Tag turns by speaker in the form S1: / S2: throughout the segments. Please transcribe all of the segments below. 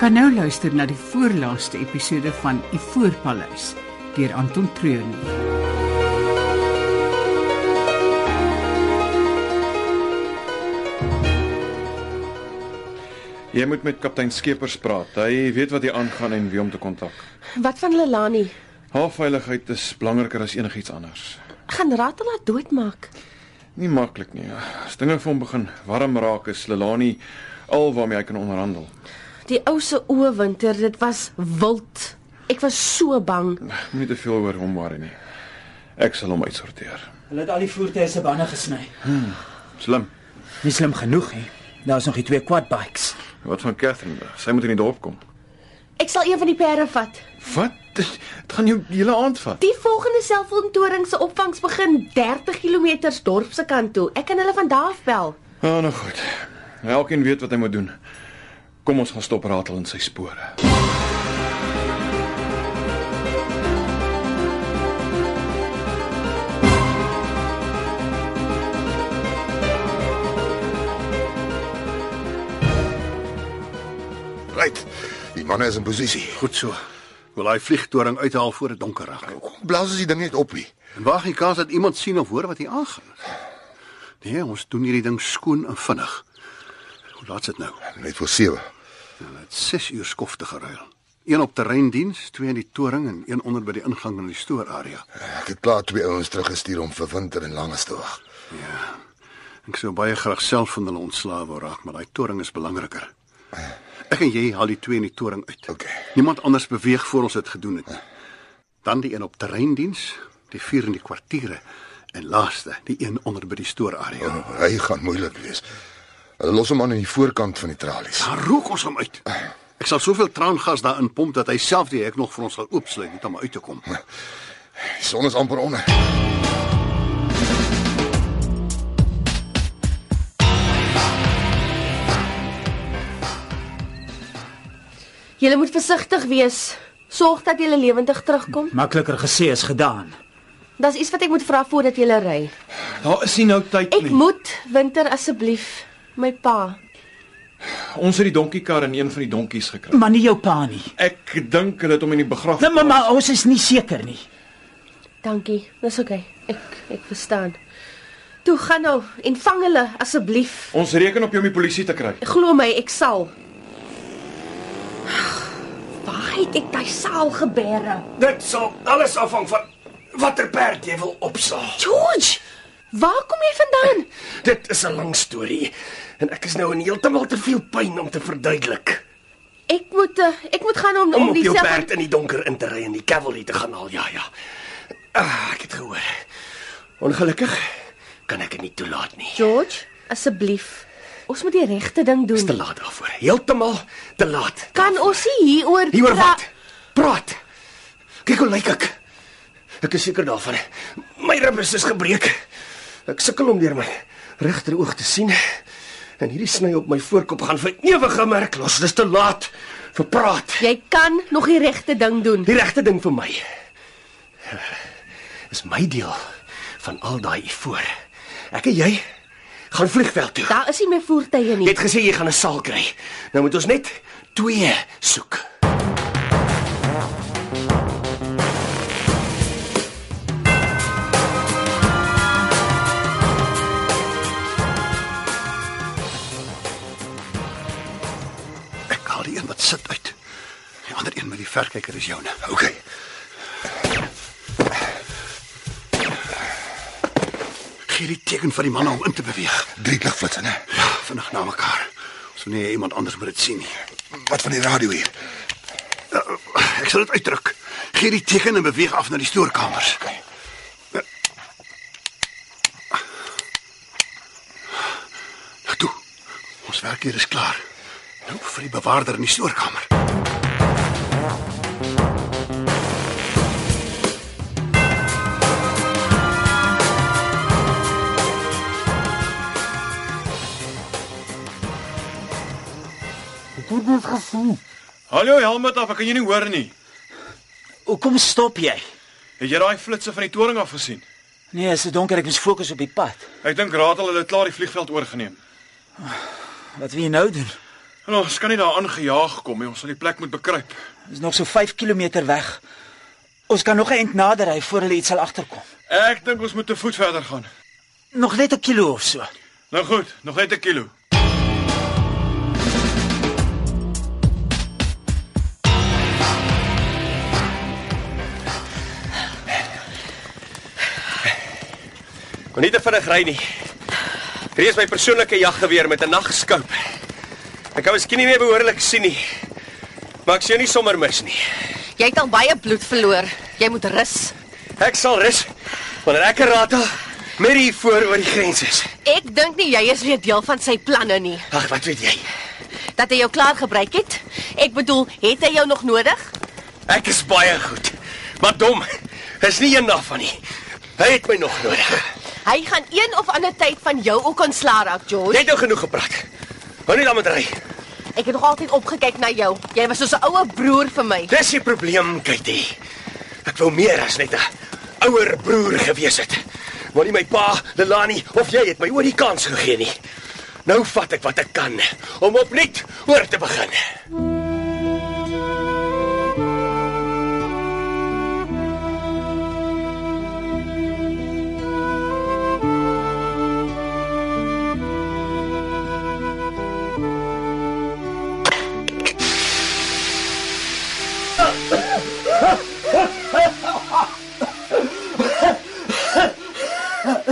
S1: kan nou luister na die voorlaaste episode van Ivoorpaleis deur Anton Treurnig.
S2: Jy moet met kaptein Skeepers praat. Hy weet wat hier aangaan en wie om te kontak.
S3: Wat van Lelani?
S2: Haar veiligheid is belangriker as enigiets anders.
S3: Gaan Ratel haar doodmaak.
S2: Nie maklik nie. As dinge vir hom begin warm raak, is Lelani al waarmee hy kan onderhandel.
S3: Die ou se oë winter, dit was wild. Ek was so bang.
S2: Moenie te veel oor hom worry nie. Ek sal hom uitsorteer.
S4: Hulle het al die voertuie se bande gesny.
S2: Slim.
S4: Nie slim genoeg hè. Daar's nog die twee quad bikes.
S2: Wat van Catherine? Sy moet in die dorp kom.
S3: Ek sal een van die perde vat.
S2: Wat? Dit gaan jou die hele aand vat.
S3: Die volgende selfoontoring se opvangs begin 30 km dorp se kant toe. Ek kan hulle van daar af bel.
S2: Ja, nou goed. Elkeen weet wat hy moet doen. Kom ons gaan stop ratel in sy spore.
S5: Right. Die manne is in posisie.
S6: Goed so. Wil daai vliegtoring uithaal voor dit donker raak.
S5: Kom blaas ons die ding net op hier.
S6: En wag die kans dat iemand sien of hoor wat hier aangaan. Nee, ons doen hierdie ding skoon en vinnig. Hoe laat is dit nou?
S5: Net voor 7.
S6: Hulle het 6 uur skof te geruil. Een op terreindiens, twee in die toring en een onder by die ingang in die stoorarea.
S5: Ek het klaar twee ouens teruggestuur om vir winter en langes te wag.
S6: Ek sou baie graag self van hulle ontslae wou raak, maar daai toring is belangriker. Ek en jy haal die twee in die toring uit.
S5: Oké.
S6: Niemand anders beweeg voor ons dit gedoen het nie. Dan die een op terreindiens, die vier in die kwartiere en laaste, die een onder by die stoorarea.
S5: Oh, hy gaan moeilik wees. Hulle los hom aan aan die voorkant van die tralies.
S6: Dan rook ons hom uit. Ek sal soveel traangas daarin pomp dat hy self die hek nog vir ons sal oopsluit net om uit te kom.
S5: Die son is amper onder.
S3: Julle moet versigtig wees. Sorg dat julle lewendig terugkom.
S4: Makliker gesê as gedaan.
S3: Daar's iets wat ek moet vra voordat julle ry.
S2: Daar is nie nou tyd
S3: Ek moet winter asseblief my pa.
S2: Ons het die donkiekar in een van die donkies gekry.
S4: Maar nie jou pa nie.
S2: Ek dink hulle het hom in die begrafplaas.
S4: Nou mamma, ons is nie seker nie.
S3: Dankie. Dis oké. Okay. Ek ek verstaan. Toe gaan nou en vang hulle asseblief.
S2: Ons reken op jou om die polisie te kry.
S3: Glo my, ek sal. Waar het ek daai saal gebeere?
S7: Dit sal alles afhang van watter perd jy wil opsaal.
S3: George, waar kom jy vandaan?
S7: Dit is 'n lang storie en ek is nou in heeltemal te veel pyn om te verduidelik.
S3: Ek moet eh, ek moet gaan om
S7: Om
S3: om
S7: op
S3: die
S7: jou
S3: self-
S7: perd in die donker in te ry en die cavalry te gaan haal. Ja, ja. Ah, ek het gehoor. Ongelukkig kan ek dit nie toelaat nie.
S3: George, asseblief. Ons moet die regte ding
S7: Dis te
S3: doen.
S7: laat daarvoor. Heeltemal te laat.
S3: Kan ons nie hieroor
S7: Hieroor
S3: pra-
S7: wat? Praat. Kyk hoe lyk ek. Ek is seker daarvan. My ribbes is gebreek. Ek sukkel om deur my regteroog te sien. En hierdie sny op my voorkop gaan vir ewig gemerk los. Dis te laat vir praat.
S3: Jy kan nog die regte ding doen.
S7: Die regte ding vir my is my deel van al daai voor. Ek en jy gaan vliegveld toe.
S3: Daar is nie meer voertuie
S7: Jy
S3: nie.
S7: het gesê jy gaan 'n saal kry. Nou moet ons net twee soek.
S6: Ek haal die een wat sit uit. Die ander een met die verkyker is joune.
S5: OK.
S6: Gee die teken vir die manne om in te beweeg.
S5: Drie ligflitsinge.
S6: Ja, vinnig na mekaar. So nee, iemand anders moet dit sien nie.
S5: Wat van die radio hier?
S6: Ek sal dit uitdruk. Gee die teken en beweeg af na die stoorkamers.
S5: Okay.
S6: Nou toe. Ons werk hier is klaar. Nou vir die bewaarder in die stoorkamer.
S2: Hallo Helmut af, ek kan jou nie hoor nie.
S4: Hoekom stop jy?
S2: Het jy daai flitsse van die toring af gesien?
S4: Nee, dit is so donker, ek moet fokus op die pad.
S2: Ek dink Ratel hulle het klaar die vliegveld oorgeneem.
S4: Wat wil jy nou doen?
S2: En ons kan nie daar aangejaag kom nie. Ons sal die plek moet bekruip.
S4: Dis nog so 5 km weg. Ons kan nog 'n eind nader ry voor hulle iets sal agterkom.
S2: Ek dink ons moet te voet verder gaan.
S4: Nog net 'n kilo of so.
S2: Nou goed, nog net 'n kilo.
S7: Kon nie te vinnig ry nie. Hierdie is my persoonlike jaggeweer met 'n nagskoop. Ek kan miskien nie meer behoorlik sien nie. Maar ek sien nie sommer mis nie.
S3: Jy het al baie bloed verloor. Jy moet rus.
S7: Ek sal rus wanneer ek 'n rata met hier voor oor die grens is.
S3: Ek dink nie jy is weer deel van sy planne nie.
S7: Ag, wat weet jy?
S3: Dat hy jou klaar gebruik het. Ek bedoel, het hy jou nog nodig?
S7: Ek is baie goed. Maar dom is nie een daarvan nie. Hy het my nog nodig.
S3: Hy gaan een of ander tyd van jou ook ontslaa raak, George.
S7: Net nou genoeg gepraat. Hou net aan met ry.
S3: Ek het nog altyd opgekyk na jou. Jy was soos 'n ouer broer vir my.
S7: Dis die probleem, Katie. Ek wou meer as net 'n ouer broer gewees het. Want nie my pa, Lelani of jy het my ooit die kans gegee nie. Nou vat ek wat ek kan om opnuut oor te begin.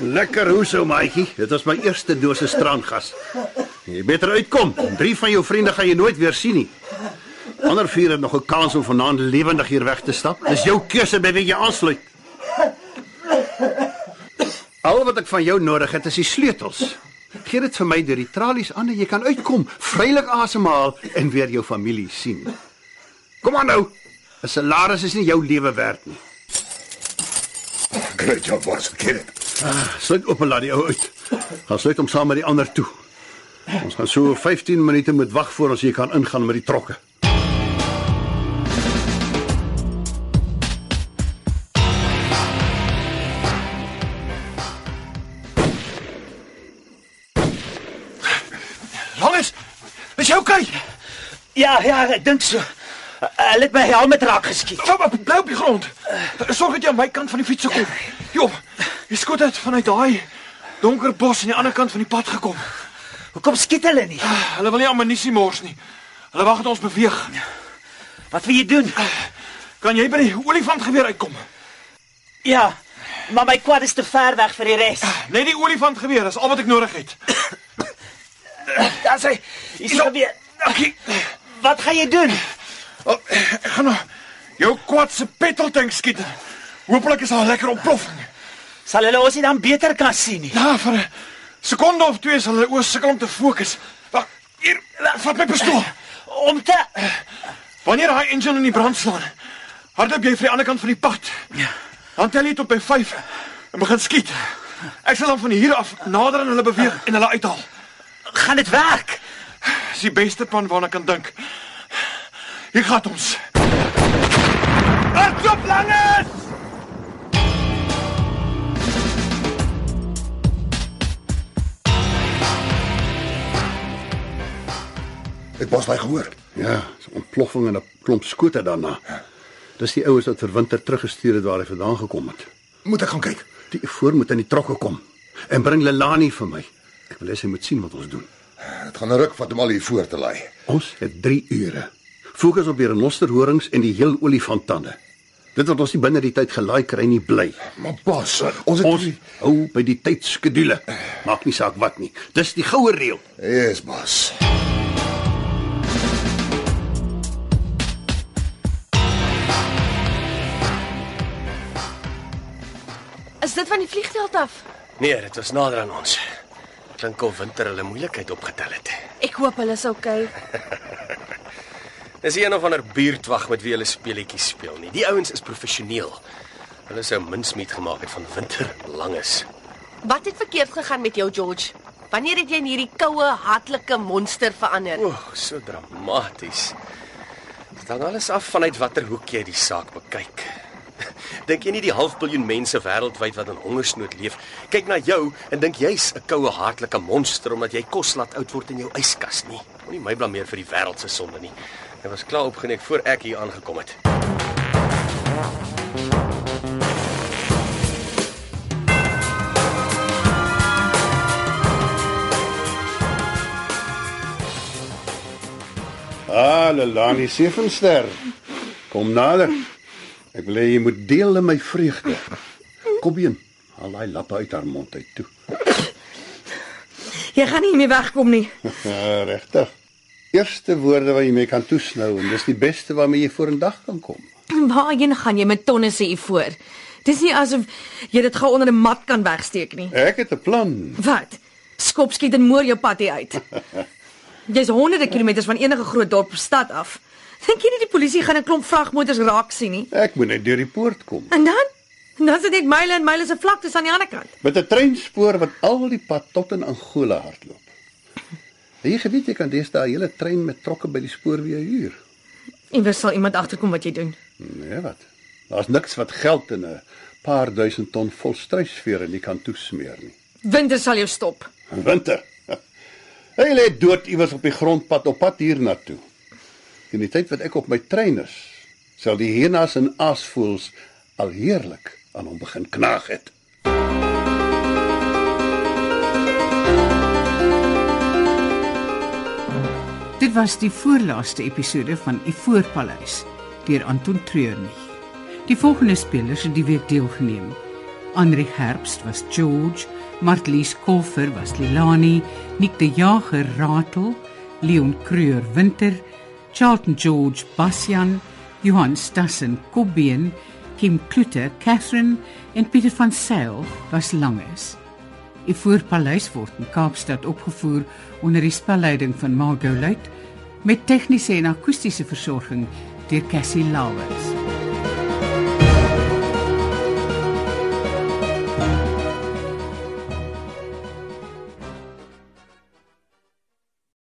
S6: Lekker hoe sou maatjie. Dit was my eerste dosis traangas. Jy beter uitkom. Drie van jou vriende gaan jy nooit weer sien nie. Ander vier het nog 'n kans om vanaand lewendig hier weg te stap. Dis jou keuse by wie jy aansluit. Al wat ek van jou nodig het is die sleutels. Gee dit vir my deur die tralies aan en jy kan uitkom, vrylik asemhaal en weer jou familie sien. Kom aan nou. 'n Salaris is nie jou lewe werd nie.
S5: Great job, boss. Get it.
S6: Sluit op en laat die ou uit. Gaan sluit hom saam met die ander toe. Ons gaan so 15 minute moet wag voor ons hier kan ingaan met die trokke.
S7: Lawrence, is jy okay?
S4: Ja, ja, ek dink so. Uh, Hulle het my helm met raak geskiet.
S2: Kom op, bly op die grond. Sorg dat jy aan my kant van die fiets kom. Job, jy skoot uit vanuit daai donker bos aan die ander kant van die pad gekom.
S4: Hoekom skiet hulle nie?
S2: Hulle wil nie ammunisie mors nie. Hulle wag dat ons beweeg.
S4: Wat wil jy doen?
S2: Kan jy by die olifantgeweer uitkom?
S4: Ja, maar my kwad is te ver weg vir die res.
S2: Net die olifantgeweer, dis al wat ek nodig het. Ja,
S4: Dan sê, is dit weer.
S2: Dankie.
S4: Wat gaan jy doen?
S2: Oh, ek gaan nou jou kwad se petroltank skiet. Hooplik is daar 'n lekker ontploffing.
S4: Sal hulle ons nie dan beter kan sien nie?
S2: Ja, vir 'n sekonde of twee sal hulle oë sukkel om te fokus. Wag, hier, vat my pistool.
S4: Om te
S2: Wanneer daai engine in die brand slaan, hardloop jy vir die ander kant van die pad. Ja. Dan tel jy tot by 5 en begin skiet. Ek sal dan van hier af nader aan hulle beweeg en hulle uithaal.
S4: gaan dit werk.
S2: Dis die beste plan waarna ek kan dink. Hier gaan ons. Hardloop langes!
S5: Het boss my gehoor?
S6: Ja, so 'n ontploffing en 'n klomp skote daarna. Dis die oues wat vir winter teruggestuur het waar hy vandaan gekom het.
S5: Moet ek gaan kyk?
S6: Die voor moet in die trokke kom en bring Lelani vir my. Ek wil hê sy moet sien wat ons doen.
S5: Ja, Dit gaan 'n ruk vat om al hier voor te lei.
S6: Ons het 3 ure. Fokus op die renosterhorings en die heel olifanttande. Dit wat ons nie binne die tyd gelaai kry nie bly.
S5: Maar boss, ons het
S6: Ons hou by die tydskedule. Maak nie saak wat nie. Dis die goue reël.
S5: Yes, boss.
S3: Is dit van die vliegveld af?
S7: Nee, dit was nader aan ons. Klink of winter hulle moeilikheid opgetel het.
S3: Ek hoop hulle is okay.
S7: Dis die een of ander buurtwag met wie hulle speletjies speel nie. Die ouens is professioneel. Hulle sou minsmiet gemaak het van winter langes.
S3: Wat het verkeerd gegaan met jou, George? Wanneer het jy in hierdie koue, hartlike monster verander?
S7: O, so dramaties. Dit hang alles af vanuit watter hoek jy die saak bekyk. Dink jy nie die half biljoen mense wêreldwyd wat in hongersnood leef, kyk na jou en dink jy's 'n koue hartlike monster omdat jy kos laat oud word in jou yskas nie.
S8: Moenie my blameer vir die wêreld se sonde nie. Dit was klaar opgenek voor ek hier aangekom het.
S6: Ah, Lelani Sevenster. Kom nader. Ek wil hê jy moet deel in my vreugde. Kom in. Haal daai lappe uit haar mond uit toe.
S9: Jy gaan nie meer wegkom nie.
S6: Ja, regtig. Eerste woorde wat jy mee kan toesnou en dis die beste waarmee jy vorendag kan kom.
S9: Waarheen gaan jy met tonne se ivoor? Dis nie asof jy dit gou onder 'n mat kan wegsteek nie.
S6: Ek het 'n plan.
S9: Wat? Skop skiet en moer jou pad hier uit. Jy's honderde kilometers van enige groot dorp of stad af. Dink jy nie die polisie gaan 'n klomp vragmotors raak sien nie?
S6: Ek moet net deur die poort kom.
S9: En dan? Dan sit net myle en myle se vlaktes aan die ander kant.
S6: Met 'n treinspoor wat al die pad tot in Angola hardloop. En Jy geweet jy kan deesdae 'n hele trein met trokke by die spoor weer huur.
S9: Iewers sal iemand agterkom wat jy doen.
S6: Nee, wat? Daar's niks wat geld in 'n paar duisend ton volstruisveer in die kan toesmeer nie.
S9: Winter sal jou stop.
S6: Winter. Hy lê dood iewers op die grondpad op pad hiernatoe. In die tyd wat ek op my trein is, sal die hyenas en aasvoëls al heerlik aan hom begin knaag het.
S1: Dit was die voorlaaste episode van Ivoorpaleis deur Anton Treurnig. Die volgende spelers het die week deelgeneem. Andri Herbst was George, Martlies Koffer was Lilani, Nick de Jager Ratel, Leon Creur Winter, Charlton George Basjan, Johan Stassen Kobbeen, Kim Klute Catherine en Pieter van Sail was Langes. Die voorpaleis word in Kaapstad opgevoer onder die spelleiding van Margot Luit met tegniese en akoestiese versorging deur Cassie Lawrence.